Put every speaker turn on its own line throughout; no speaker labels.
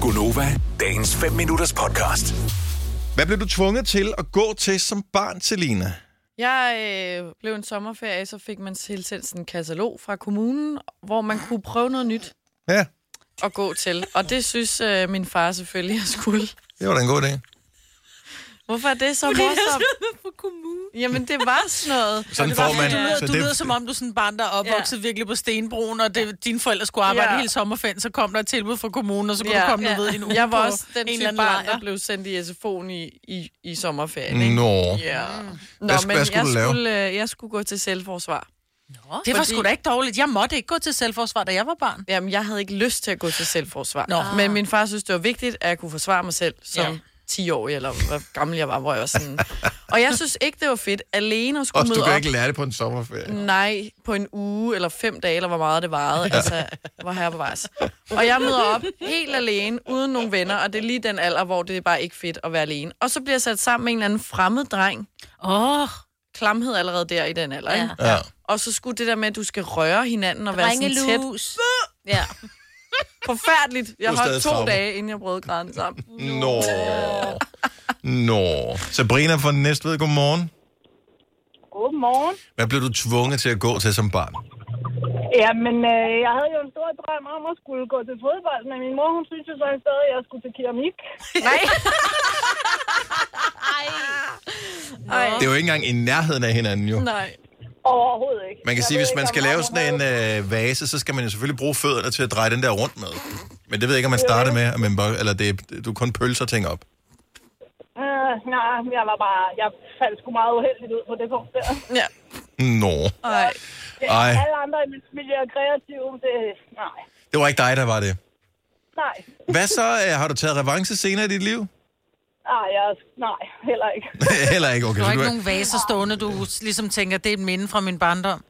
Gunova, dagens 5 minutters podcast.
Hvad blev du tvunget til at gå til som barn, Selina?
Jeg øh, blev en sommerferie, så fik man tilsendt sådan en katalog fra kommunen, hvor man kunne prøve noget nyt
Ja,
at gå til. Og det synes øh, min far selvfølgelig, jeg skulle.
det var da en god idé.
Hvorfor er det så morsomt? Jamen, det var sådan noget.
Sådan
Det
får
var,
man...
man, du lyder,
så
du lyder som om, du er sådan et barn, der er opvokset ja. virkelig på Stenbroen, og det, dine forældre skulle arbejde
Ja.
ja. hele sommerferien, så kom der et tilbud fra kommunen, og så kunne ja. du komme ja. ved en uge
jeg var
på
også den
en
type
eller anden
barn, der
lejr.
blev sendt i SFO'en i, i, i sommerferien. Ikke?
Nå,
Ja. Nå,
Mm. Hvad sk- hvad skulle
jeg,
du lave?
Skulle, øh, jeg skulle gå til selvforsvar.
Det var
Fordi-
sgu da ikke dårligt. Jeg måtte ikke gå til selvforsvar, da jeg var barn.
Jamen, jeg havde ikke lyst til at gå til selvforsvar.
Nå.
Men min far synes, det var vigtigt, at jeg kunne forsvare mig selv som
Ja.
10 år eller hvor gammel jeg var, hvor jeg var sådan... og jeg synes ikke, det var fedt alene at skulle
også du
møde
kan
op.
ikke lære det på en sommerferie.
Mm.
Nej, på en uge eller fem dage, eller hvor meget det varede. Altså, hvor her på vejs. Og jeg møder op helt alene, uden nogen venner, og det er lige den alder, hvor det er bare ikke fedt at være alene. Og så bliver jeg sat sammen med en eller anden fremmed dreng.
Åh, oh,
Klamhed allerede der i den alder,
Ja.
ja. ikke?
Ja.
Og så skulle det der med, at du skal røre hinanden og være sådan tæt.
Ringelus. Ja.
Forfærdeligt. Jeg
Du er
holdt
stadig
to
farvet.
dage, inden jeg brød græden sammen.
Nå. Nå. Sabrina fra Næstved, godmorgen.
Godmorgen.
Hvad blev du tvunget til at gå til som barn?
Jamen, øh, jeg havde jo en stor drøm om at skulle gå til fodbold, men min mor, hun synes jo så i stedet, at jeg skulle til keramik.
Nej.
Det er jo ikke engang i nærheden af hinanden, jo.
Nej.
Overhovedet ikke.
Man kan
Jeg
sige,
ved
hvis
ikke,
man
om
skal
mamma
lave sådan en
havde-
øh, vase, så skal man jo selvfølgelig bruge fødderne til at dreje den der rundt med. Men det ved jeg ikke, om man starter med, at man bare, eller det, er- du kun pølser ting op.
Øh, nej, jeg var bare... Jeg faldt sgu meget uheldigt ud på det punkt der.
Ja.
Nå.
Ej.
Ej,
Alle andre i min familie er kreative. Det, nej,
det var ikke dig, der var det.
nej,
Hvad så? Øh, har du taget revanche senere i dit liv?
nej, jeg, nej, heller ikke.
Heller ikke, okay.
der
Så
var
du
ikke
er,
nogen vaser stående, du ligesom tænker, det er et minde fra min barndom.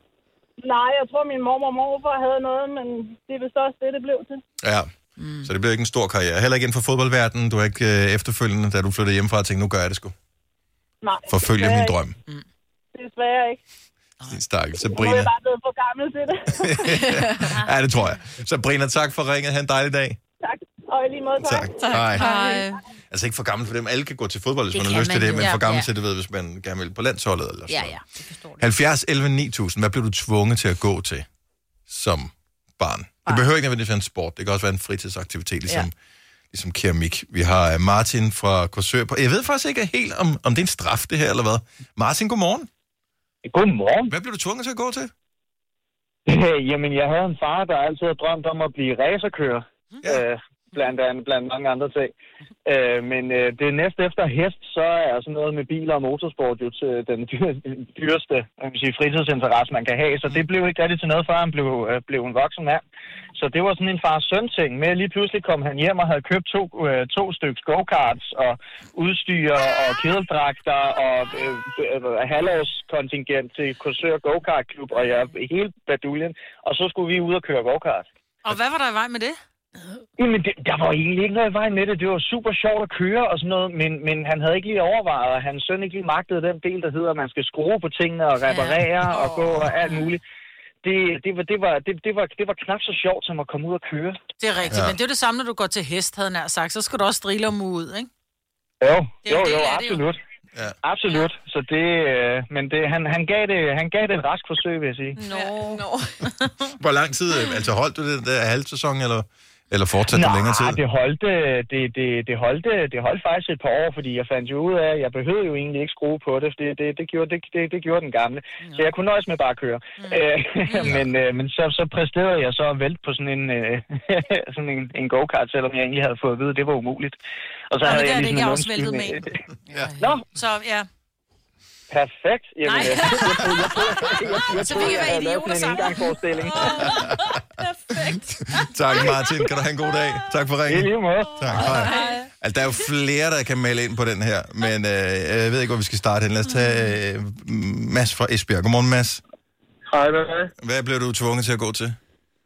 Nej, jeg tror, min mormor og morfar havde noget, men det er vist også det, det blev til.
ja. Så det blev ikke en stor karriere. Heller ikke inden for fodboldverdenen. Du er ikke øh, efterfølgende, da du flyttede hjemmefra og tænkte, nu gør jeg det sgu.
Nej,
Forfølge
desværre
min
ikke.
drøm.
Desværre ikke.
Din stakkel.
Nu er
Sabrina.
jeg bare blevet for gammel til det.
Ja, det tror jeg. Sabrina, tak for ringet. Ha' en dejlig dag.
tak. Og i lige måde, tak.
Tak. Hej.
Ej.
Altså ikke for gammel for dem. Alle kan gå til fodbold, hvis
Det
man har
kan
lyst til
man
det,
jo.
men
Ja,
for gammel
ja.
til det ved, hvis man gerne vil på landsholdet eller sådan
Ja,
noget.
ja. Det forstår det.
70, 11, 9000. Hvad blev du tvunget til at gå til som barn? Det behøver ikke nødvendigvis være en sport. Det kan også være en fritidsaktivitet, ligesom, ja. ligesom keramik. Vi har øh, Martin fra Korsør på. Jeg ved faktisk ikke helt, om, om det er en straf, det her, eller hvad. Martin, godmorgen.
Godmorgen.
Hvad blev du tvunget til at gå til?
Jamen, jeg havde en far, der altid har drømt om at blive racerkører.
Ja.
Ja. Øh, blandt, andet, blandt mange andre ting. Øh, men øh, det er næst efter hest, så er sådan noget med biler og motorsport jo til øh, den dyr- dyreste man kan man sige, fritidsinteresse, man kan have. Så det blev ikke rigtig til noget, før han blev, øh, blev en voksen mand. Så det var sådan en far-søn-ting med, at lige pludselig kom han hjem og havde købt to, øh, to stykker go-karts og udstyr og kædeldragter og øh, øh, halvårskontingent til Korsør Go-Kart-klub og ja, hele baduljen. Og så skulle vi ud og køre go-kart.
Og hvad var der i vej med det?
Jamen, det, der var egentlig ikke noget i vejen med det. Det var super sjovt at køre og sådan noget, men, men han havde ikke lige overvejet, og hans søn ikke lige magtede den del, der hedder, at man skal skrue på tingene og reparere ja. og gå og alt muligt. Det, det, var, det, var, det, det, var, det var knap så sjovt som at komme ud og køre.
Det er rigtigt,
Ja.
ja. men det er jo det samme, når du går til hest, havde jeg nær sagt. Så skal du også strille om ud, ikke?
Jo,
er
jo,
en del
jo,
af det jo.
absolut.
Ja.
Absolut. Så det, øh, men det, han, han, gav det, han gav det et rask forsøg, vil jeg sige.
Nå. Ja. Nå.
Hvor lang tid? øh, Altså holdt du det der halv sæson, eller, eller fortsatte du
Nej,
længere tid?
det holdt, øh, det, det, det, holdt, øh, det holdt faktisk et par år, fordi jeg fandt jo ud af, at jeg behøvede jo egentlig ikke skrue på det, for det, det, det, gjorde, det, det, det gjorde den gamle. Så jeg kunne nøjes med bare at køre.
Mm.
Øh, men øh, men så, så præsterede jeg så at vælte på sådan en, øh, sådan en, en go-kart, selvom jeg egentlig havde fået at vide, at det var umuligt. Og
Nå,
så
men
havde
det
jeg
er det
lige
ikke, jeg har
sådan en
også væltet med en.
undskyldning. Nå,
Så ja,
perfekt. Jamen,
Nej.
øh, jeg troede- jeg troede- jeg- jeg
Så vi
troede,
kan
jeg
være
havde lavet
idioter
sådan en
sammen.
engangsforestilling.
Tak, Martin. Kan du have en god dag? Tak for
I
ringen.
lige måde.
Tak. Hej. Altså, der er jo flere, der kan melde ind på den her, men øh, jeg ved ikke, hvor vi skal starte hen. Lad os tage øh, Mads fra Esbjerg. Godmorgen, Mads.
Hej, hvad er det?
Hvad blev du tvunget til at gå til?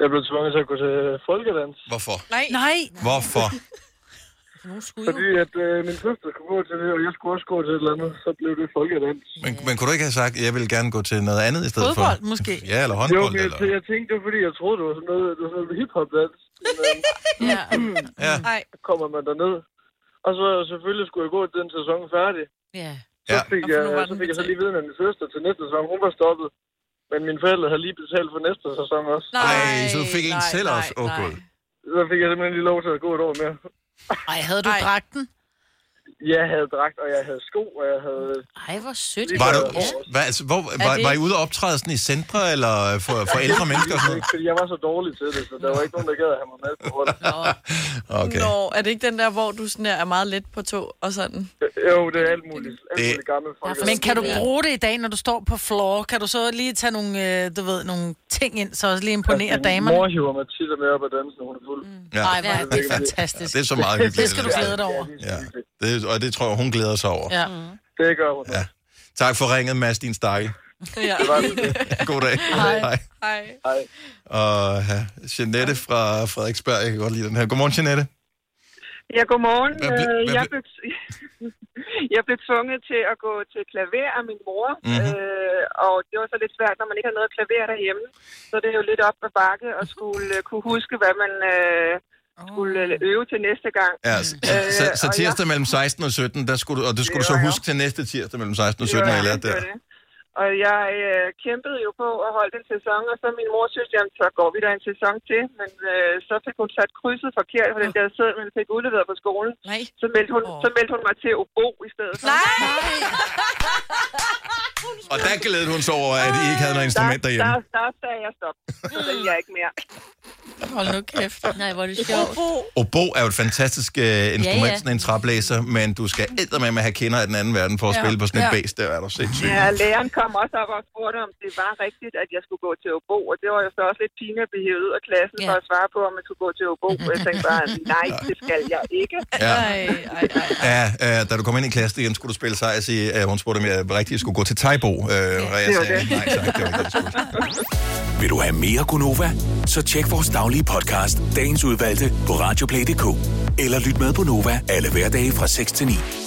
Jeg blev tvunget til at gå til folkedans.
Hvorfor?
Nej.
Hvorfor?
For nogen skulle
Fordi
jo.
at øh, min søster skulle gå til det, og jeg skulle også gå til et eller andet. Så blev det folkedans.
Men, men kunne du ikke have sagt, at jeg vil gerne gå til noget andet i stedet
Fodbold,
for?
måske.
Ja, eller
Jo,
håndbold.
men jeg,
eller...
jeg tænkte, det var fordi, jeg troede, det var sådan noget, det var sådan noget hiphop-dans. Men, øh,
Ja.
Ja.
så kommer man derned. Og så selvfølgelig skulle jeg gå til den sæson færdig.
Ja.
Så
Ja.
fik,
Og for
jeg,
nu var
så
den
fik jeg så
betalt.
lige viden af min søster til næste sæson. Hun var stoppet. Men mine forældre havde lige betalt for næste sæson også.
Ej, så du fik en
nej,
selv
nej,
også? Åh,
nej.
gud.
Så fik jeg simpelthen lige lov til at gå et år mere.
Ej, havde du
Ej.
dragten?
Jeg havde dragt, og jeg havde sko, og jeg havde...
Ej, hvor sødt.
Lige
Var, du,
Ja.
hvad, altså, hvor, var,
det
var I
ikke-
ude og optræde sådan i centre, eller for, for ældre mennesker og sådan
Ikke, fordi jeg var så dårlig til det, så der var ikke nogen, der gad at have mig med på hold.
noget? Okay.
Nå, er det ikke den der, hvor du sådan der er meget let på tog og sådan?
Jo, det er alt muligt. Alt
Det-
muligt gammelt folk.
Men kan du bruge det i dag, når du står på floor? Kan du så lige tage nogle, øh, du ved, nogle ting ind, så også lige imponere damerne?
Min mor hiver mig tit og med op af dansen, når hun er fuld.
Mm.
Ja.
Ej, hvor er det
Ja.
Ja,
fantastisk.
det er så meget hyggeligt.
Det skal du
altså.
glæde dig over.
Ja, det, og det tror jeg, hun glæder sig over.
Ja.
Det gør hun.
Ja. Tak for ringet, Mads, din stakkel.
Ja.
God dag. Hej. Hej.
Hej.
Og ja, Jeanette fra Frederiksberg, jeg kan godt lide den her. Godmorgen, Jeanette.
Ja, godmorgen.
Hvad ble-
Øh,
hvad
jeg,
ble-
blev, jeg blev tvunget til at gå til klaver af min mor,
Mhm.
mm-hmm. øh, og det var så lidt svært, når man ikke har noget klaver derhjemme. Så det er jo lidt op ad bakke at skulle øh, kunne huske, hvad man øh, skulle øh, øve til næste gang.
Ja, så, så, så
Øh, og
tirsdag mellem 16 og 17, der skulle du, og det skulle du så
Jo, jo.
huske til næste tirsdag mellem 16 og 17,
Det
har
var
jeg lært
det
der.
var det. Og jeg øh, kæmpede jo på at holde den sæson, og så min mor synes, jamen, så går vi der en sæson til. Men øh, så fik hun sat krydset forkert på den der sæd, man fik udleveret på skolen.
Nej.
Så meldte hun,
Åh.
så meldte hun mig til obo i stedet for.
Nej!
Og der glædede hun sig over, at I ikke havde noget
der,
instrument derhjemme.
der, der sagde jeg stop. Så sagde jeg ikke mere.
Hold nu kæft.
Nej, hvor er det sjovt.
Obo er jo et fantastisk øh, instrument,
Ja,
ja, ja.
ja.
sådan en traplæser, men du skal med at have kender af den anden verden for at ja. spille på sådan et ja. bass, der er du sindssygt.
Ja, læreren kom også op og spurgte, om det var rigtigt, at jeg skulle gå til Obo, og det var jo så også lidt pinligt at blive hævet ud af klassen
Ja.
for at svare på, om jeg skulle gå til Obo. Jeg tænkte bare, nej, det skal jeg ikke.
Ja.
Ej, ej, ej.
Ja, øh, da du kom ind i klassen igen, skulle du spille sejr, sige, øh, hun spurgte, om jeg rigtigt skulle gå til Taibo, øh, og jeg
det var
sagde,
det.
nej tak, det var ikke det, jeg skulle.
Vil du have mere Gunova? Så tjek vores daglige podcast, dagens udvalgte, på radioplay.dk. Eller lyt med på Nova alle hverdage fra 6 til 9.